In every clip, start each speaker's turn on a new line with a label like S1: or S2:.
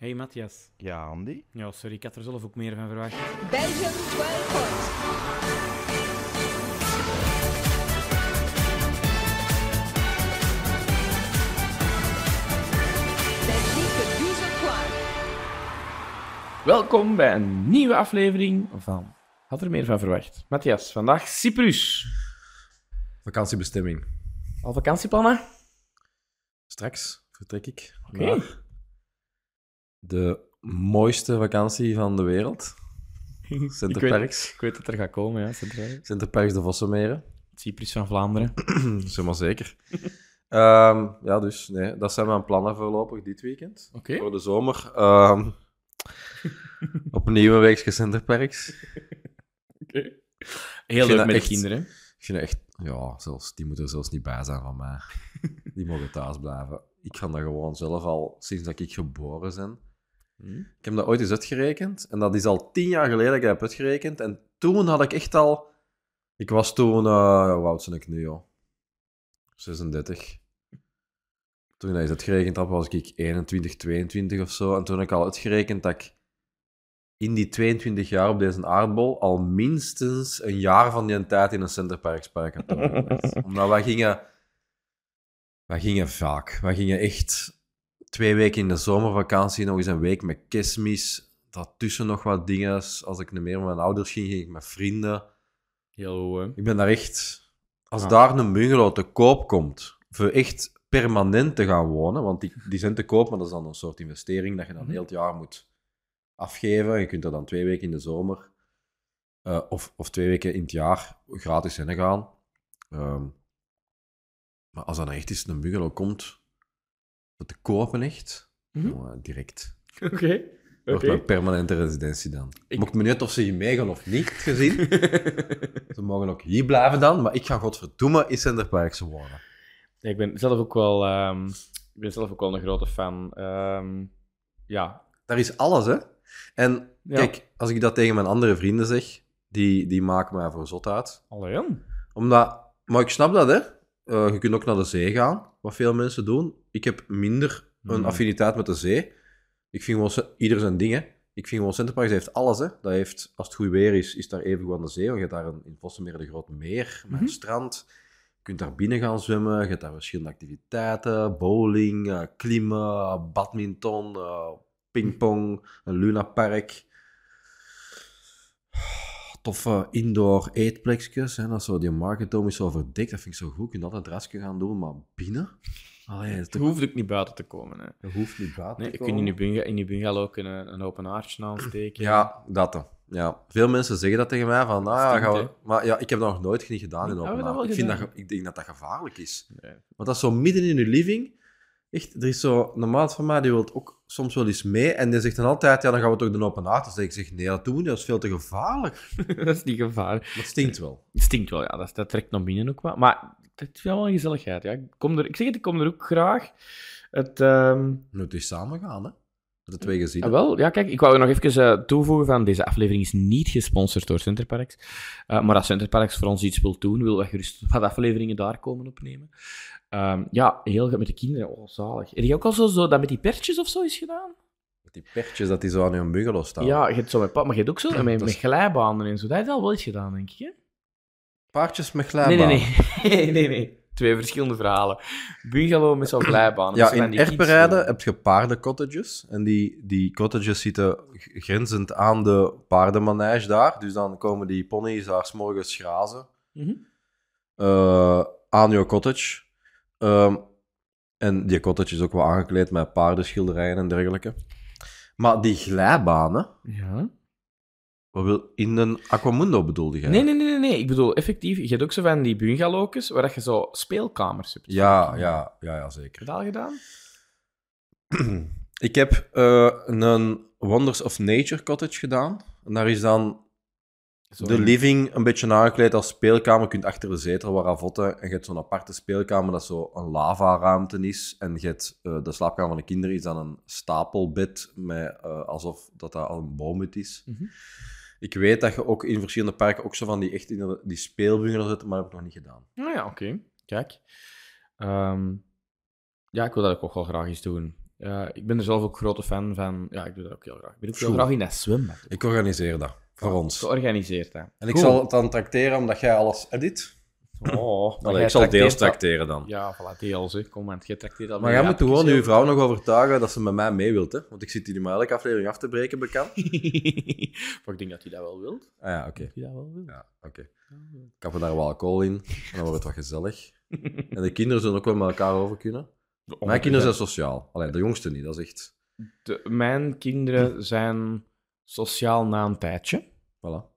S1: Hey Matthias.
S2: Ja, Andy?
S1: Ja, sorry, ik had er zelf ook meer van verwacht.
S3: Belgium 12 points. Belgique 12 points.
S4: Welkom bij een nieuwe aflevering van Had er meer van verwacht. Matthias, vandaag Cyprus.
S5: Vakantiebestemming.
S4: Al vakantieplannen?
S5: Straks vertrek ik
S4: Oké.
S5: naar de mooiste vakantie van de wereld.
S4: Ik weet-
S5: Centerparks.
S4: Ik weet dat er gaat komen, ja. Centraal.
S5: Centerparks de Vossenmeren.
S4: Cyprus van Vlaanderen.
S5: Zeg maar zeker. Ehm, ja, dus nee, dat zijn mijn plannen voorlopig dit weekend.
S4: Oké.
S5: Voor de zomer. ehm, opnieuw een weekje Centerparks.
S4: Heel
S5: Ik vind
S4: leuk
S5: dat
S4: met de
S5: echt-
S4: kinderen.
S5: Ik vind dat echt, ja, zelfs, die moeten er zelfs niet bij zijn van mij. Die mogen thuis blijven. Ik ga dat gewoon zelf al sinds dat ik geboren ben.
S4: Hm.
S5: Ik heb dat ooit eens uitgerekend. En dat is al tien jaar geleden dat ik dat heb uitgerekend. En toen had ik echt al. Ik was toen. eh hoe oud ben ik nu, joh? 36. Toen dat is uitgerekend had, was ik 21, 22 of zo. En toen heb ik al uitgerekend dat ik in die 22 jaar op deze aardbol al minstens een jaar van die tijd in een centerparkspark had doorgebracht. Omdat wij gingen, wij gingen vaak. Wij gingen echt twee weken in de zomervakantie, nog eens een week met kerstmis. Daartussen nog wat dingen. Als ik niet meer met mijn ouders ging, ging ik met vrienden.
S4: Heel goed, hè.
S5: Ik ben daar echt... Als
S4: Ah.
S5: daar een bungalow te koop komt, voor echt permanent te gaan wonen, want die, die zijn te koop, maar dat is dan een soort investering dat je dan
S4: Mhm.
S5: heel het jaar moet afgeven. Je kunt er dan twee weken in de zomer eh, of, of twee weken in het jaar gratis heen gaan. Ehm, maar als dan echt eens een bungalow komt, voor te kopen echt,
S4: Mhm.
S5: jongen, direct.
S4: Oké.
S5: Wordt
S4: Oké.
S5: mijn permanente residentie dan.
S4: Ik-
S5: Mocht me niet uit of ze hier meegaan of niet, gezien. Ze mogen ook hier blijven dan, maar ik ga godverdomme in Centerparks wonen.
S4: Ja, ik, ben zelf ook wel, ehm, ik ben zelf ook wel een grote fan. Ehm, ja.
S5: Daar is alles, hè? En
S4: Ja.
S5: kijk, als ik dat tegen mijn andere vrienden zeg, die, die maken mij voor zot uit.
S4: Allee, jong.
S5: Omdat, maar ik snap dat, hè? Eh, je kunt ook naar de zee gaan, wat veel mensen doen. Ik heb minder een
S4: Mm.
S5: affiniteit met de zee. Ik vind gewoon ce- ieder zijn ding, hè. Ik vind gewoon Centerparks heeft alles, hè? Dat heeft, als het goed weer is, is daar even goed aan de zee. Want je hebt daar een, in Vossenmeer een groot meer, met een
S4: Mhm.
S5: strand. Je kunt daar binnen gaan zwemmen, je hebt daar verschillende activiteiten: bowling, eh, klimmen, badminton, eh, pingpong, een lunapark. Toffe indoor eetplekjes. Hè. Dat is zo, die market dome is zo verdikt. Dat vind ik zo goed. Je kunt altijd rasje gaan doen, maar binnen? Allee, dat, is
S4: Het
S5: toch-
S4: hoeft ook niet buiten te komen, hè.
S5: dat hoeft niet buiten
S4: Nee,
S5: te
S4: je kunt in
S5: komen.
S4: je, bunga- in je bungalow ook een, een open aardje aansteken.
S5: Ja, dat dan. Ja. Veel mensen zeggen dat tegen mij. Van, ah, ja,
S4: Stinkt,
S5: gaan we...
S4: hè?
S5: Maar ja, ik heb dat nog nooit niet gedaan in
S4: Hebben we
S5: open
S4: dat wel
S5: haard. ik, vind dat,
S4: gedaan?
S5: ge- ik denk dat dat gevaarlijk is.
S4: Nee.
S5: Want dat is zo midden in je living. Echt, er is zo een maat van mij die wil ook soms wel eens mee. En die zegt dan altijd, ja, dan gaan we toch de open haard. Dan zeg ik, zeg, nee, dat doen we niet. Dat is veel te gevaarlijk.
S4: dat is niet gevaar.
S5: Maar het stinkt wel.
S4: Het stinkt wel, ja. Dat, dat trekt naar binnen ook wel. Maar het is wel een gezelligheid, ja. Ik, kom er, ik zeg het, ik kom er ook graag. Het, ehm,
S5: We moeten eens samen gaan, hè. Met de twee gezinnen.
S4: ah, wel, ja, kijk, ik wou nog even eh, toevoegen van deze aflevering is niet gesponsord door Centerparks. Eh, maar als Centerparks voor ons iets wil doen, willen wij gerust wat afleveringen daar komen opnemen. Ehm, ja, heel goed met de kinderen. Oh, zalig. Heb je ook al zo, zo dat met die pertjes of zo is gedaan?
S5: Met die pertjes dat die zo aan hun bungalow staan.
S4: Ja, je hebt zo met pap, maar je hebt ook zo met, met
S5: Dat is-
S4: glijbanen en zo. Dat is al wel eens gedaan, denk ik, hè?
S5: Paardjes met glijbaan.
S4: Nee, nee, nee. nee, nee. Twee verschillende verhalen. Bungalow met zo'n glijbaan.
S5: Ja, in
S4: eh,
S5: Erpenrijden heb je paardencottages. En die, die cottages zitten g- grenzend aan de paardenmanage daar. Dus dan komen die ponies daar s'morgens grazen
S4: Mhm.
S5: eh, aan jouw cottage. Ehm, en die cottage is ook wel aangekleed met paardenschilderijen en dergelijke. Maar die glijbanen,
S4: Ja.
S5: wat wil, in een aquamundo bedoelde jij?
S4: Nee, nee, nee, nee, nee. Ik bedoel, effectief, je hebt ook zo van die bungalowjes waar dat je zo speelkamers hebt.
S5: Ja, ja, ja, ja, zeker.
S4: Heb je dat al gedaan?
S5: Ik heb eh, een Wonders of Nature cottage gedaan. En daar is dan
S4: Zo
S5: de living een beetje aangekleed als speelkamer. Je kunt achter de zetel wat ravotten. En je hebt zo'n aparte speelkamer dat zo een lava-ruimte is. En je hebt, eh, de slaapkamer van de kinderen is dan een stapelbed. Met, eh, alsof dat, dat al een boomhut is.
S4: Mhm.
S5: Ik weet dat je ook in verschillende parken ook zo van die, echt in de- die speelbungalows zit. Maar dat heb ik nog niet gedaan.
S4: Nou ja, oké. Kijk. Ehm, ja, ik wil dat ook wel graag eens doen. Eh, Eh, ik ben er zelf ook grote fan van. Ja, ik doe dat ook heel graag. Ik ben ook heel
S5: Sjoe.
S4: graag in dat zwembad.
S5: Ik organiseer dat voor ons.
S4: Georganiseerd, hè.
S5: En ik
S4: Cool.
S5: zal het dan tracteren omdat jij alles edit.
S4: Oh, maar
S5: Allee,
S4: jij
S5: ik zal deels
S4: trakteert dat-
S5: tracteren dan.
S4: Ja, voilà, deels, hè. Kom, man, jij trakteert al
S5: Maar
S4: mijn
S5: jij moet gewoon
S4: raadjes,
S5: uw vrouw nog overtuigen dat ze met mij mee wilt, hè? Want ik zit hier maar elke aflevering af te breken, bekend.
S4: joh. maar ik denk dat hij dat wel wil. Dat
S5: Ah ja, oké.
S4: hij dat wel wil.
S5: Ja, oké. Kappen daar wel alcohol in, en dan wordt het wat gezellig. En de kinderen zullen ook wel met elkaar over kunnen. Mijn kinderen zijn sociaal. Alleen de jongste niet, dat is echt...
S4: De- mijn kinderen zijn sociaal na een tijdje.
S5: Voilà.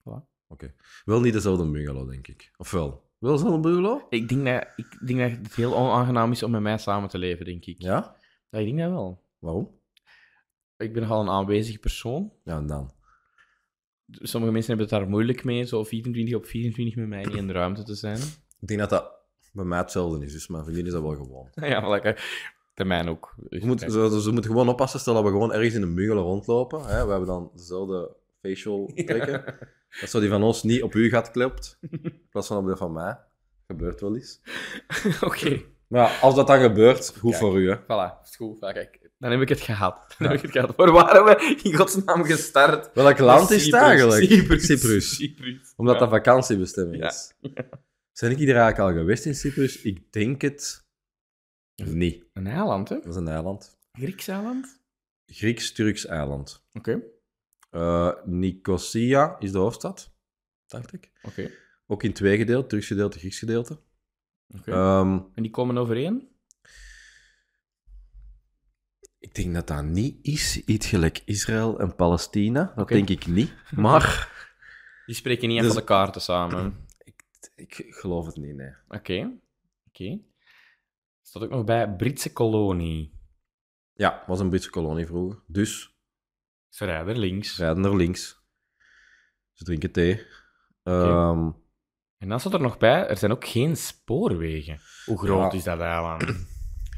S4: Voilà.
S5: Oké. Wel niet dezelfde bungalow, denk ik. Of wel? Wel dezelfde bungalow?
S4: Ik denk, dat, ik denk dat het heel onaangenaam is om met mij samen te leven, denk ik.
S5: Ja?
S4: Ja, ik denk dat wel.
S5: Waarom?
S4: Ik ben nogal een aanwezig persoon.
S5: Ja, en dan?
S4: Sommige mensen hebben het daar moeilijk mee, zo 24 op 24 met mij niet in de ruimte te zijn.
S5: Ik denk dat dat bij mij hetzelfde is, dus mijn vriendin is dat wel gewoon.
S4: ja, lekker. Bij mij ook. Dus
S5: Je moet,
S4: kijk.
S5: ze, ze moeten gewoon oppassen, stel dat we gewoon ergens in een bungalow rondlopen. Hè? We hebben dan dezelfde facial trekken. Dat zo die van ons niet op u gaat klept, in plaats van op de van mij. Gebeurt wel eens.
S4: Oké,
S5: Maar ja, als dat dan gebeurt, goed
S4: Kijk.
S5: voor u. Hè?
S4: voilà. Is goed. Ja, kijk. Dan heb ik het gehad. Dan heb ik het gehad. Waar waren we in godsnaam gestart?
S5: Welk land is het
S4: Cyprus,
S5: eigenlijk?
S4: Cyprus.
S5: Cyprus.
S4: Cyprus.
S5: Omdat
S4: Ja.
S5: dat vakantiebestemming is. Zijn ik hier eigenlijk al geweest in Cyprus? Ik denk het niet.
S4: Een eiland, hè?
S5: Dat is een eiland.
S4: Grieks eiland?
S5: Grieks-Turks eiland.
S4: Oké.
S5: Eh, Nicosia is de hoofdstad, dacht ik.
S4: Oké.
S5: Ook in twee gedeelten, Turks gedeelte, Grieks gedeelte.
S4: Oké.
S5: Ehm,
S4: en die komen overeen?
S5: ik denk dat dat niet is, iets gelijk Israël en Palestina. Dat
S4: Oké.
S5: denk ik niet. Maar
S4: Die spreken niet
S5: Dus-
S4: even van de kaarten samen.
S5: ik, ik geloof het niet, nee.
S4: Oké. Oké. Staat ook nog bij Britse kolonie.
S5: Ja, was een Britse kolonie vroeger. Dus
S4: Ze rijden links.
S5: ze rijden naar links. Ze drinken thee. Ehm,
S4: En dan staat er nog bij, er zijn ook geen spoorwegen. Hoe groot
S5: Ja.
S4: is dat eiland?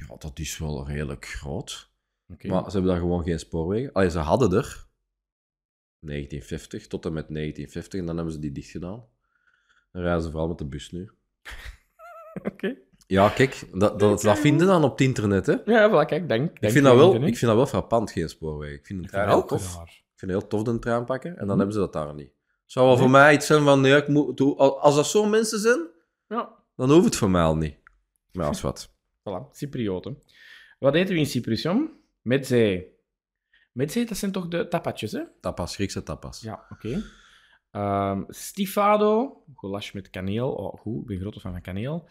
S5: ja, dat is wel redelijk groot.
S4: Oké.
S5: Maar ze hebben daar gewoon geen spoorwegen. Allee, ze hadden er. 1950 tot en met 1950. En dan hebben ze die dicht gedaan. Dan reizen ze vooral met de bus nu.
S4: Oké.
S5: Ja, kijk, dat, dat, dat vinden dan op het internet, hè.
S4: Ja, voilà, kijk, dank.
S5: Ik vind, dat wel, ik vind dat wel frappant, geen spoorweg. Ik vind het heel tof.
S4: raar.
S5: Ik vind het heel tof, een trein pakken. En dan
S4: Mhm.
S5: hebben ze dat daar niet. Het zou wel voor mij iets zijn van, nee, ik moet, doe- al- als dat zo mensen zijn,
S4: Ja,
S5: dan hoeft het voor mij al niet. Maar als wat.
S4: voilà, Cyprioten. Wat eten we in Cyprus, jong? Metzee. Metzee, dat zijn toch de tapatjes, hè?
S5: Tapas, Griekse tapas.
S4: Ja, oké. Ehm, stifado, goulash met kaneel. Oh, goed, ik ben grote fan van kaneel.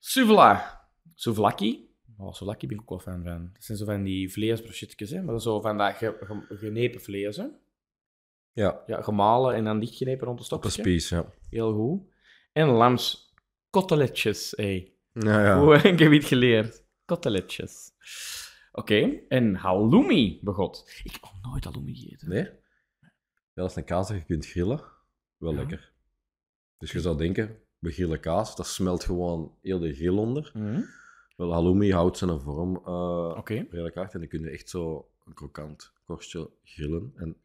S4: Souvla, souvlaki. Oh, souvlaki ben ik ook wel fan van. Dat zijn zo van die vleesbrochetjes, hè. Maar dat is zo van dat ge- ge- genepen vlees, hè.
S5: Ja,
S4: Ja, gemalen en dan dichtgenepen rond de
S5: op een
S4: stokjes.
S5: spies, ja.
S4: Heel goed. En lamskoteletjes, hey.
S5: Ja, ja.
S4: Hoe heb je het geleerd? Koteletjes. Oké, en halloumi, begot. Ik heb nog nooit halloumi gegeten.
S5: Nee? Ja, dat is een kaas dat je kunt grillen. Wel
S4: Ja.
S5: lekker. Dus je zou denken, we grillen kaas, dat smelt gewoon heel de grill onder.
S4: Mhm,
S5: Wel, halloumi houdt zijn vorm eh,
S4: Oké.
S5: redelijk hard en dan kun je echt zo een krokant korstje grillen. En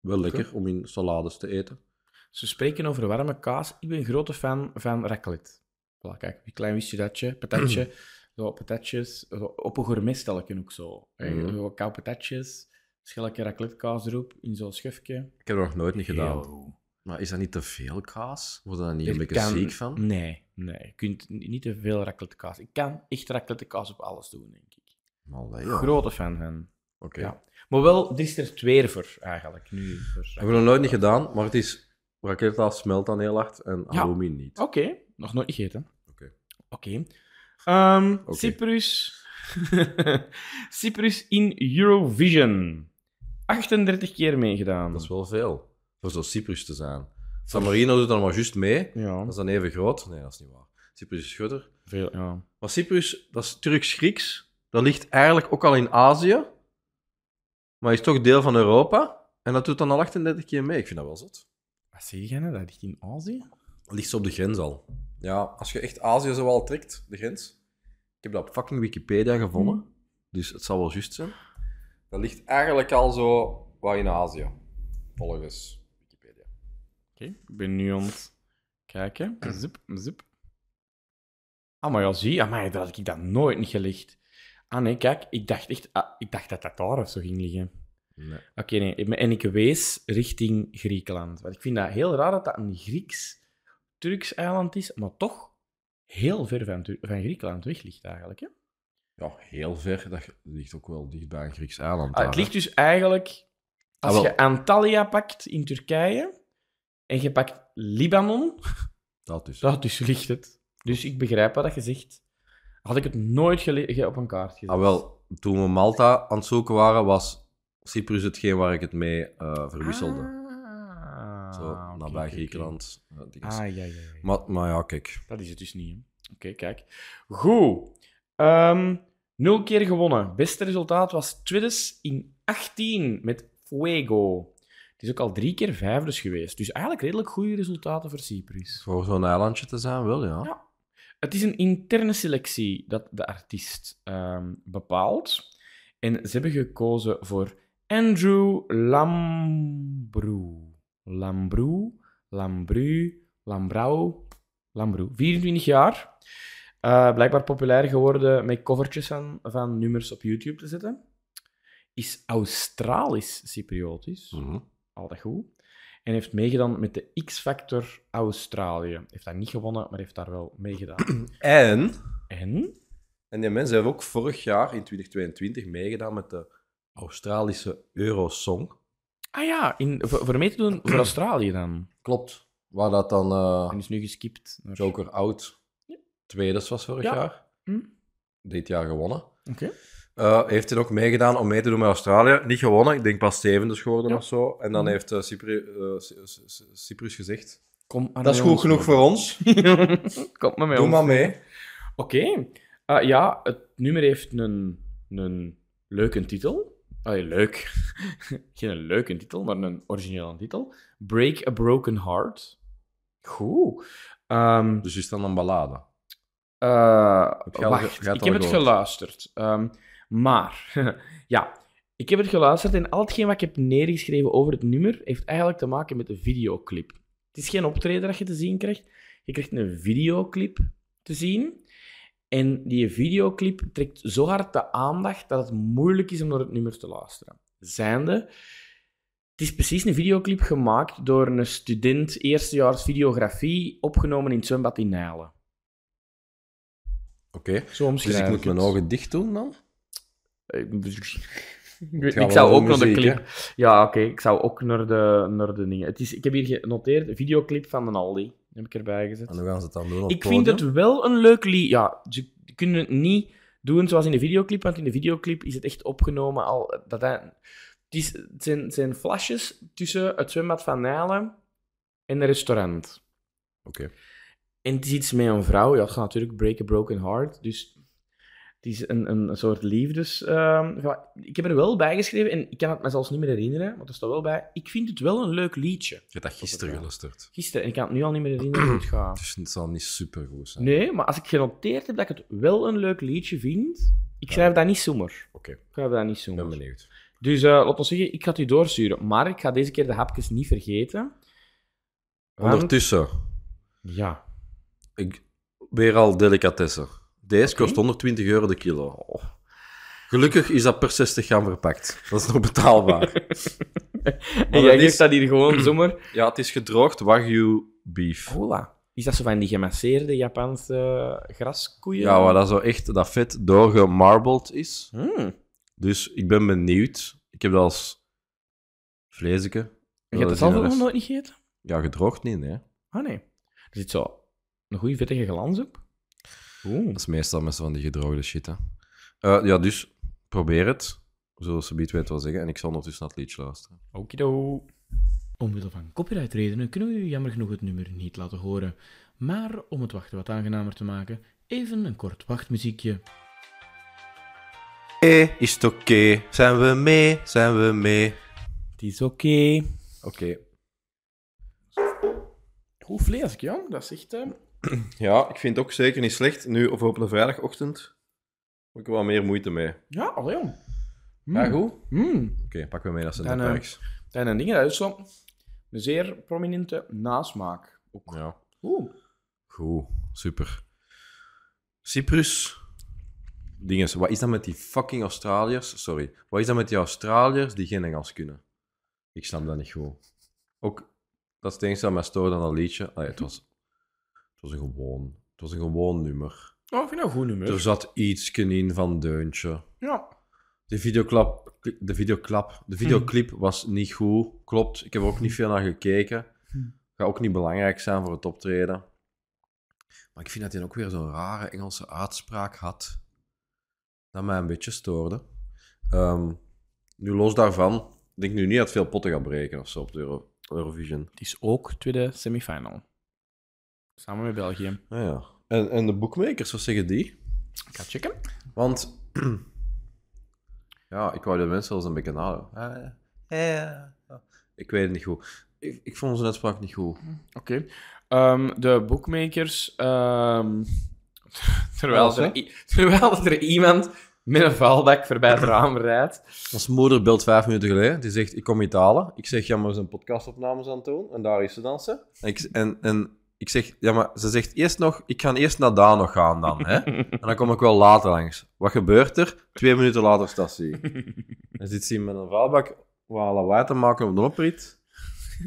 S5: wel lekker om in salades te eten.
S4: Ze spreken over warme kaas. Ik ben een grote fan van raclette. Voilà, kijk, een klein wistje datje, patatje, zo patatjes, zo op een gourmetstelletje ook zo. Eh,
S5: Mhm.
S4: Zo koude patatjes, schilletje raclette kaas erop, in zo'n schufje.
S5: Ik heb dat nog nooit niet gedaan.
S4: Heel goed.
S5: Maar is dat niet te veel kaas? Word je daar niet
S4: Ik
S5: een beetje
S4: kan-
S5: ziek van?
S4: Nee, nee. Je kunt ni- niet te veel raclette kaas. Ik kan echt raclette kaas op alles doen, denk ik.
S5: Allee, joh. Oké.
S4: Grote fan van. Ja. Maar wel, er is er twee voor, eigenlijk, nu. voor-
S5: Ik heb dat nog nooit niet gedaan, maar het is... Raketta smelt dan heel hard en halloumi niet.
S4: Oké, nog nooit gegeten.
S5: Oké.
S4: Oké. Ehm,
S5: Oké.
S4: Cyprus. Cyprus in Eurovision. 38 keer meegedaan.
S5: Dat is wel veel. Voor zo Cyprus te zijn. San Marino doet dan maar juist mee.
S4: Ja,
S5: Dat is dan even groot. Nee, dat is niet waar. Cyprus is groter.
S4: veel, ja.
S5: Maar Cyprus, dat is Turks-Grieks. Dat ligt eigenlijk ook al in Azië. Maar is toch deel van Europa. En dat doet dan al 38 keer mee. Ik vind dat wel zot.
S4: Wat zie je nou? Dat ligt in Azië?
S5: Dat ligt zo op de grens al. Ja, als je echt Azië zo al trekt, de grens. Ik heb dat op fucking Wikipedia gevonden. Dus het zal wel juist zijn. Dat ligt eigenlijk al zo wat in Azië. Volgens Wikipedia.
S4: Oké, ik ben nu aan het kijken. Zip, zip. Ah, maar ja, zie. Amai, daar had ik dat nooit niet gelegd. Ah nee, kijk, ik dacht echt ah, ik dacht dat dat daar of zo ging liggen.
S5: Nee.
S4: Oké, nee. ik- En ik wees richting Griekenland. Want ik vind dat heel raar dat dat een Grieks-Turks eiland is, maar toch heel ver van, Tur- van Griekenland weg ligt eigenlijk. Hè?
S5: Ja, heel ver. Dat ligt ook wel dicht bij een Grieks eiland.
S4: Ah,
S5: daar,
S4: het
S5: hè.
S4: ligt dus eigenlijk... Als
S5: Ah, wel.
S4: je Antalya pakt in Turkije en je pakt Libanon,
S5: Dat is.
S4: Dat dus ligt het. Dus ik begrijp wat dat je zegt. Had ik het nooit gele- ge- op een kaart gezet.
S5: Ah, wel, toen we Malta aan het zoeken waren, was Cyprus hetgeen waar ik het mee eh, verwisselde.
S4: Ah,
S5: Zo,
S4: oké,
S5: nabij
S4: oké, oké.
S5: Griekenland. eh, dingen.
S4: Ah, ja, ja, ja.
S5: maar, maar ja, kijk.
S4: Dat is het dus niet. hè. Oké, kijk. Goed. Ehm, nul keer gewonnen. Beste resultaat was Twiddes in 18 met Fuego. Het is ook al drie keer vijfdes geweest. Dus eigenlijk redelijk goede resultaten voor Cyprus.
S5: Voor zo'n eilandje te zijn, wel, ja.
S4: Ja. Het is een interne selectie dat de artiest ehm, bepaalt. En ze hebben gekozen voor Andrew Lambrou. Lambrou, Lambrou, Lambrou, Lambrou. 24 jaar. Eh, blijkbaar populair geworden met covertjes van, van nummers op YouTube te zetten. Is Australisch-Cypriotisch
S5: Mhm.
S4: al dat goed. En heeft meegedaan met de X-Factor Australië. Heeft dat niet gewonnen, maar heeft daar wel meegedaan.
S5: En,
S4: En?
S5: en die mensen hebben ook vorig jaar in 2022 meegedaan met de Australische Eurosong.
S4: Ah ja, in, voor, voor mee te doen voor Australië dan.
S5: Klopt. Waar dat dan eh,
S4: En is nu geskipt. naar-
S5: Joker Out tweede was vorig
S4: Ja.
S5: jaar.
S4: Hm?
S5: Dit jaar gewonnen.
S4: Oké.
S5: Eh, heeft hij ook meegedaan om mee te doen met Australië. Niet gewonnen, ik denk pas zevende geworden
S4: Ja.
S5: of zo. En dan
S4: Mhm.
S5: heeft eh, Cypru- eh, Cy- Cy- Cy- Cyprus
S4: Ah,
S5: gezegd...
S4: Kom maar
S5: Dat is
S4: met
S5: goed
S4: ons
S5: genoeg
S4: mee.
S5: voor ons.
S4: Kom maar mee.
S5: Doe maar mee.
S4: Oké. Eh, ja, het nummer heeft een, een leuke titel. Allee, leuk. Geen een leuke titel, maar een originele titel. Break a Broken Heart. Goed. Ehm,
S5: Dus is dan een ballade.
S4: Eh,
S5: Heb je al ge-
S4: wacht,
S5: je had
S4: ik
S5: al
S4: heb het
S5: gehoord.
S4: geluisterd. Ehm, maar, ja, ik heb het geluisterd en al hetgeen wat ik heb neergeschreven over het nummer heeft eigenlijk te maken met de videoclip. Het is geen optreden dat je te zien krijgt. Je krijgt een videoclip te zien. En die videoclip trekt zo hard de aandacht dat het moeilijk is om naar het nummer te luisteren. Zijnde, het is precies een videoclip gemaakt door een student eerstejaars videografie opgenomen in het zwembad in Nijlen.
S5: Oké.
S4: Zo
S5: Dus
S4: omschrijf
S5: ik moet
S4: het.
S5: mijn ogen dicht doen dan?
S4: Eh, Ik, ik weet,
S5: gaat
S4: ik zou
S5: wel
S4: ook
S5: om
S4: naar de
S5: muziek,
S4: clip. Ja, oké. ik zou ook naar de, naar de dingen. Het is, ik heb hier genoteerd: videoclip van de Aldi. Heb ik erbij gezet.
S5: En hoe gaan ze het dan doen op
S4: Ik vind
S5: podium?
S4: het wel een leuk lied. Ja, ze kunnen het niet doen zoals in de videoclip, want in de videoclip is het echt opgenomen al. Dat hij, het, is, het zijn, het zijn flashes tussen het zwembad van Nijlen en een restaurant.
S5: Oké.
S4: En het is iets met een vrouw. Ja, het gaat natuurlijk Break a Broken Heart. Dus het is een, een soort liefdes... ehm, ja, ik heb er wel bij geschreven, en ik kan het me zelfs niet meer herinneren, want er staat wel bij. Ik vind het wel een leuk liedje.
S5: Je hebt dat gisteren geluisterd.
S4: Gisteren, en ik kan het nu al niet meer herinneren hoe het gaat.
S5: Dus het zal niet super goed zijn.
S4: Nee, maar als ik genoteerd heb dat ik het wel een leuk liedje vind, ik schrijf dat niet zomaar.
S5: Oké,
S4: Ik schrijf dat niet
S5: ik
S4: zomaar.
S5: ben benieuwd.
S4: Dus eh laat ons zeggen, ik ga het u doorsturen. Maar ik ga deze keer de hapjes niet vergeten. Want-
S5: Ondertussen,
S4: Ja.
S5: ik, weer al delicatessen. Deze kost 120 euro de kilo. Oh. Gelukkig is dat per 60 gram verpakt. Dat is nog betaalbaar.
S4: En
S5: dat
S4: jij
S5: is-
S4: geeft dat hier gewoon zomaar.
S5: ja, het is gedroogd wagyu beef.
S4: Hola. Is dat zo van die gemasseerde Japanse eh, graskoeien?
S5: Ja, waar dat zo echt dat vet doorgemarbeld is.
S4: Hmm.
S5: Dus ik ben benieuwd. Ik heb dat als vleesje.
S4: Je hebt het zelf ook nog nooit niet gegeten?
S5: Ja, gedroogd niet, hè.
S4: Ah, nee. Er zit zo een goede vettige glans op. Oeh.
S5: Dat is meestal met zo van die gedroogde shit, hè. Eh, ja, dus probeer het. Zoals ze biedt weet wel zeggen. En ik zal ondertussen naar het liedje luisteren.
S4: Okido. Omwille van copyrightredenen kunnen we u jammer genoeg het nummer niet laten horen. Maar om het wachten wat aangenamer te maken, even een kort wachtmuziekje.
S5: Hé, Eh, is het oké? Zijn we mee? Zijn we mee?
S4: Het is oké.
S5: Oké.
S4: Goed vlees, ja. Dat is echt... eh,
S5: Ja, ik vind het ook zeker niet slecht. Nu, of op een vrijdagochtend, heb ik er wel meer moeite mee.
S4: Ja, allee. jong.
S5: Ja, goed. Oké,
S4: Mm.
S5: pak me mee naar
S4: Dan, eh,
S5: Sint-Perks.
S4: En een ding, dat is zo een zeer prominente nasmaak. Ook.
S5: Ja.
S4: Oeh.
S5: Goed, super. Cyprus. dinges. Wat is dat met die fucking Australiërs? Sorry. Wat is dat met die Australiërs die geen Engels kunnen? Ik snap dat niet goed. Ook, dat is het enige dat mij stoorde aan dat liedje. Allee, het, was, het, was een gewoon, het was een gewoon nummer.
S4: Oh, ik vind dat een goed nummer.
S5: Er zat iets in van deuntje.
S4: Ja.
S5: De videoclap, de videoclap, de videoclip was niet goed. Klopt, ik heb er ook niet veel naar gekeken. Ga ook niet belangrijk zijn voor het optreden. Maar ik vind dat hij ook weer zo'n rare Engelse uitspraak had. Dat mij een beetje stoorde. Ehm, nu los daarvan, ik denk nu niet dat veel potten gaat breken of zo op de Euro- Eurovision.
S4: Het is ook tweede semifinal. Samen met België.
S5: Ah ja. En, en de boekmakers, wat zeggen die?
S4: Ik ga checken.
S5: Want ja, ik wou de mensen wel eens een beetje nadoen. Ah, ja. Ja, ja. Ik weet het niet goed. Ik, ik vond zijn uitspraak niet goed.
S4: Oké. Ehm, de bookmakers... ehm, terwijl,
S5: Alles,
S4: er,
S5: hè?
S4: i- terwijl dat er iemand met een vuilbak voorbij het raam rijdt.
S5: Ons moeder belt vijf minuten geleden. Die zegt, ik kom je te halen. Ik zeg, ja, maar we zijn podcastopnames aan het doen. En daar is ze dan, ze. En ik, en, en ik zeg, ja, maar ze zegt eerst nog, ik ga eerst naar daar nog gaan dan. Hè? En dan kom ik wel later langs. Wat gebeurt er? Twee minuten later staat ze hier. Dan zit ze hier met een vuilbak waar lawaai te maken op de oprit.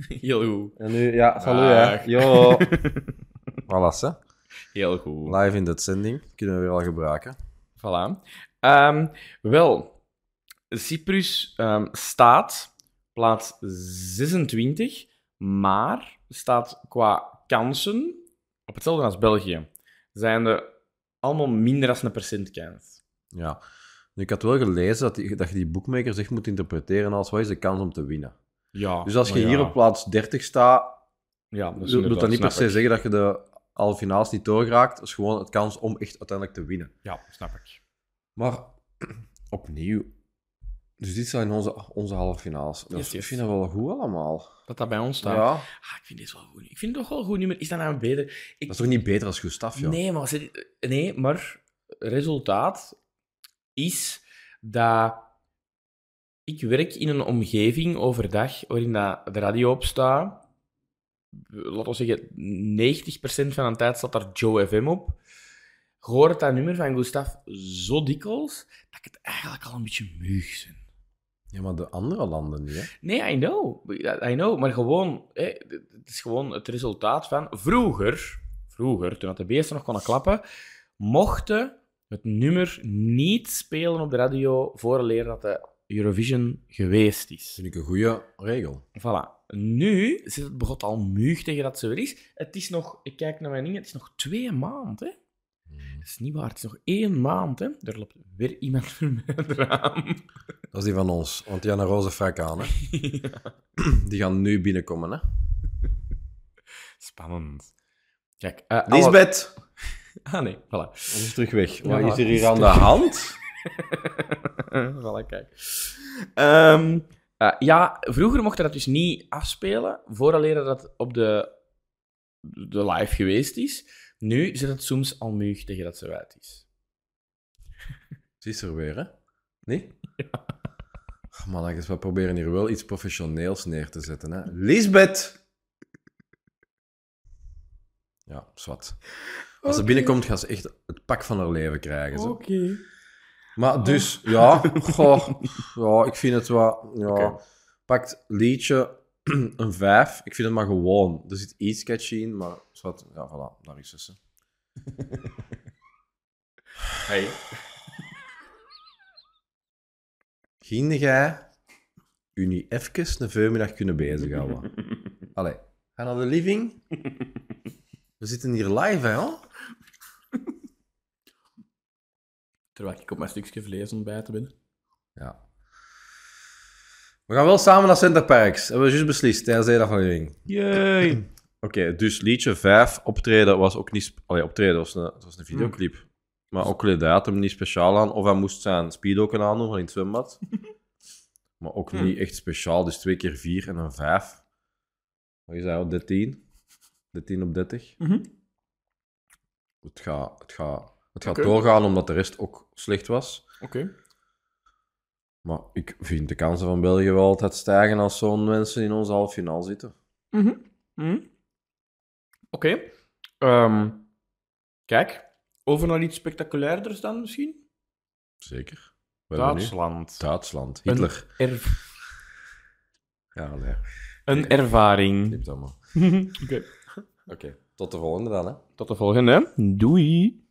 S4: Heel goed.
S5: En nu, ja, salut
S4: Dag.
S5: hè. Yo. voilà, hè.
S4: Heel goed.
S5: Live in de zending kunnen we weer al gebruiken.
S4: Voilà. Ehm, wel, Cyprus ehm, staat plaats 26, maar staat qua kansen op hetzelfde als België. Zijn er allemaal minder dan een percentkans.
S5: Ja. Nu, ik had wel gelezen dat, die- dat je die boekmakers echt moet interpreteren als wat is de kans om te winnen.
S4: Ja,
S5: Dus als je
S4: maar ja.
S5: hier op plaats 30 staat,
S4: Ja, dat is
S5: wil wil dat niet per
S4: inderdaad,
S5: se
S4: snap ik.
S5: zeggen dat je de halve finales niet doorgeraakt. Dat is gewoon het kans om echt uiteindelijk te winnen.
S4: Ja, snap ik.
S5: Maar opnieuw. Dus dit zijn onze, onze halve finales. Dat
S4: Yes, yes.
S5: Ik vind dat wel goed allemaal.
S4: Dat dat bij ons staat.
S5: Ja.
S4: Ah, ik vind dit wel goed. Ik vind het toch wel een goed nummer. Is dat nou beter? Ik,
S5: Dat is toch niet beter als Gustaf, joh?
S4: Nee, maar, ze- nee, maar resultaat is dat ik werk in een omgeving overdag waarin dat de radio op staat. Laten we zeggen, 90% van de tijd staat daar Joe FM op. Ik hoor het dat nummer van Gustaf zo dikwijls dat ik het eigenlijk al een beetje muug ben.
S5: Ja, maar de andere landen niet, hè?
S4: Nee, I know. I know. Maar gewoon, hè, het is gewoon het resultaat van... Vroeger, vroeger toen dat de beesten nog konden klappen, mochten het nummer niet spelen op de radio vooraleer dat de Eurovision geweest is.
S5: Vind ik een goede regel.
S4: Voilà. Nu zit het begot al muug tegen dat ze weer is. Het is nog... Ik kijk naar mijn dingen. Het is nog twee maanden, hè. Dat is niet waar. Het is nog één maand, hè. Er loopt weer iemand voor mij het raam.
S5: Dat is die van ons, want die aan een roze frak aan. Hè? Die gaan nu binnenkomen. Hè?
S4: Spannend. Kijk, eh, alle-
S5: Lisbeth!
S4: Ah, nee. Voilà.
S5: Ze is terug weg. Wat
S4: Ja,
S5: is er
S4: is
S5: hier aan de
S4: terug.
S5: hand?
S4: voilà, kijk. Ehm, eh, ja, vroeger mochten dat dus niet afspelen, vooraleer dat het op de, de live geweest is. Nu zit het soms al muug tegen dat ze uit is.
S5: Ze is er weer, hè? Nee? Ja. Man, we proberen hier wel iets professioneels neer te zetten. Hè? Lisbeth! Ja, zwart. Als ze binnenkomt, gaat ze echt het pak van haar leven krijgen. Zo. Maar dus, ja, goh, ja, ik vind het wel. Ja.
S4: Oké.
S5: Pakt liedje een 5. Ik vind het maar gewoon. Er zit iets catchy in, maar zwart, ja, voilà, daar is ze, ze.
S4: Hey.
S5: Ging jij u niet even een voormiddag kunnen bezighouden? Allee, ga naar de living. We zitten hier live, hè? hoor.
S4: Terwijl ik op mijn stukje vlees ontbijten ben.
S5: Ja. We gaan wel samen naar Center Parks. Hebben we juist beslist tijdens deze aflevering.
S4: Yay!
S5: Oké, dus liedje 5, optreden was ook niet... sp- Allee, optreden was een, het was een videoclip.
S4: Hmm.
S5: Maar ook kleedde hij had hem niet speciaal aan. Of hij moest zijn speedo kunnen aandoen van in het zwembad. maar ook
S4: Hmm.
S5: niet echt speciaal. Dus twee keer vier en een vijf. Wat is dat, joh? 13? 13 op 30?
S4: Mhm.
S5: Het gaat het gaat het gaat
S4: Oké.
S5: doorgaan omdat de rest ook slecht was.
S4: Oké.
S5: Maar ik vind de kansen van België wel altijd stijgen als zo'n mensen in onze halve finale zitten.
S4: Mhm. Mhm. Oké. Ehm, kijk, over naar iets spectaculairders dan misschien?
S5: Zeker. Wat hebben we nu?
S4: Duitsland.
S5: Duitsland.
S4: Een
S5: Hitler.
S4: er-
S5: Ja, nee.
S4: Een ervaring.
S5: Knipt allemaal.
S4: Oké.
S5: Oké. Tot de volgende dan, hè.
S4: Tot de volgende. Doei.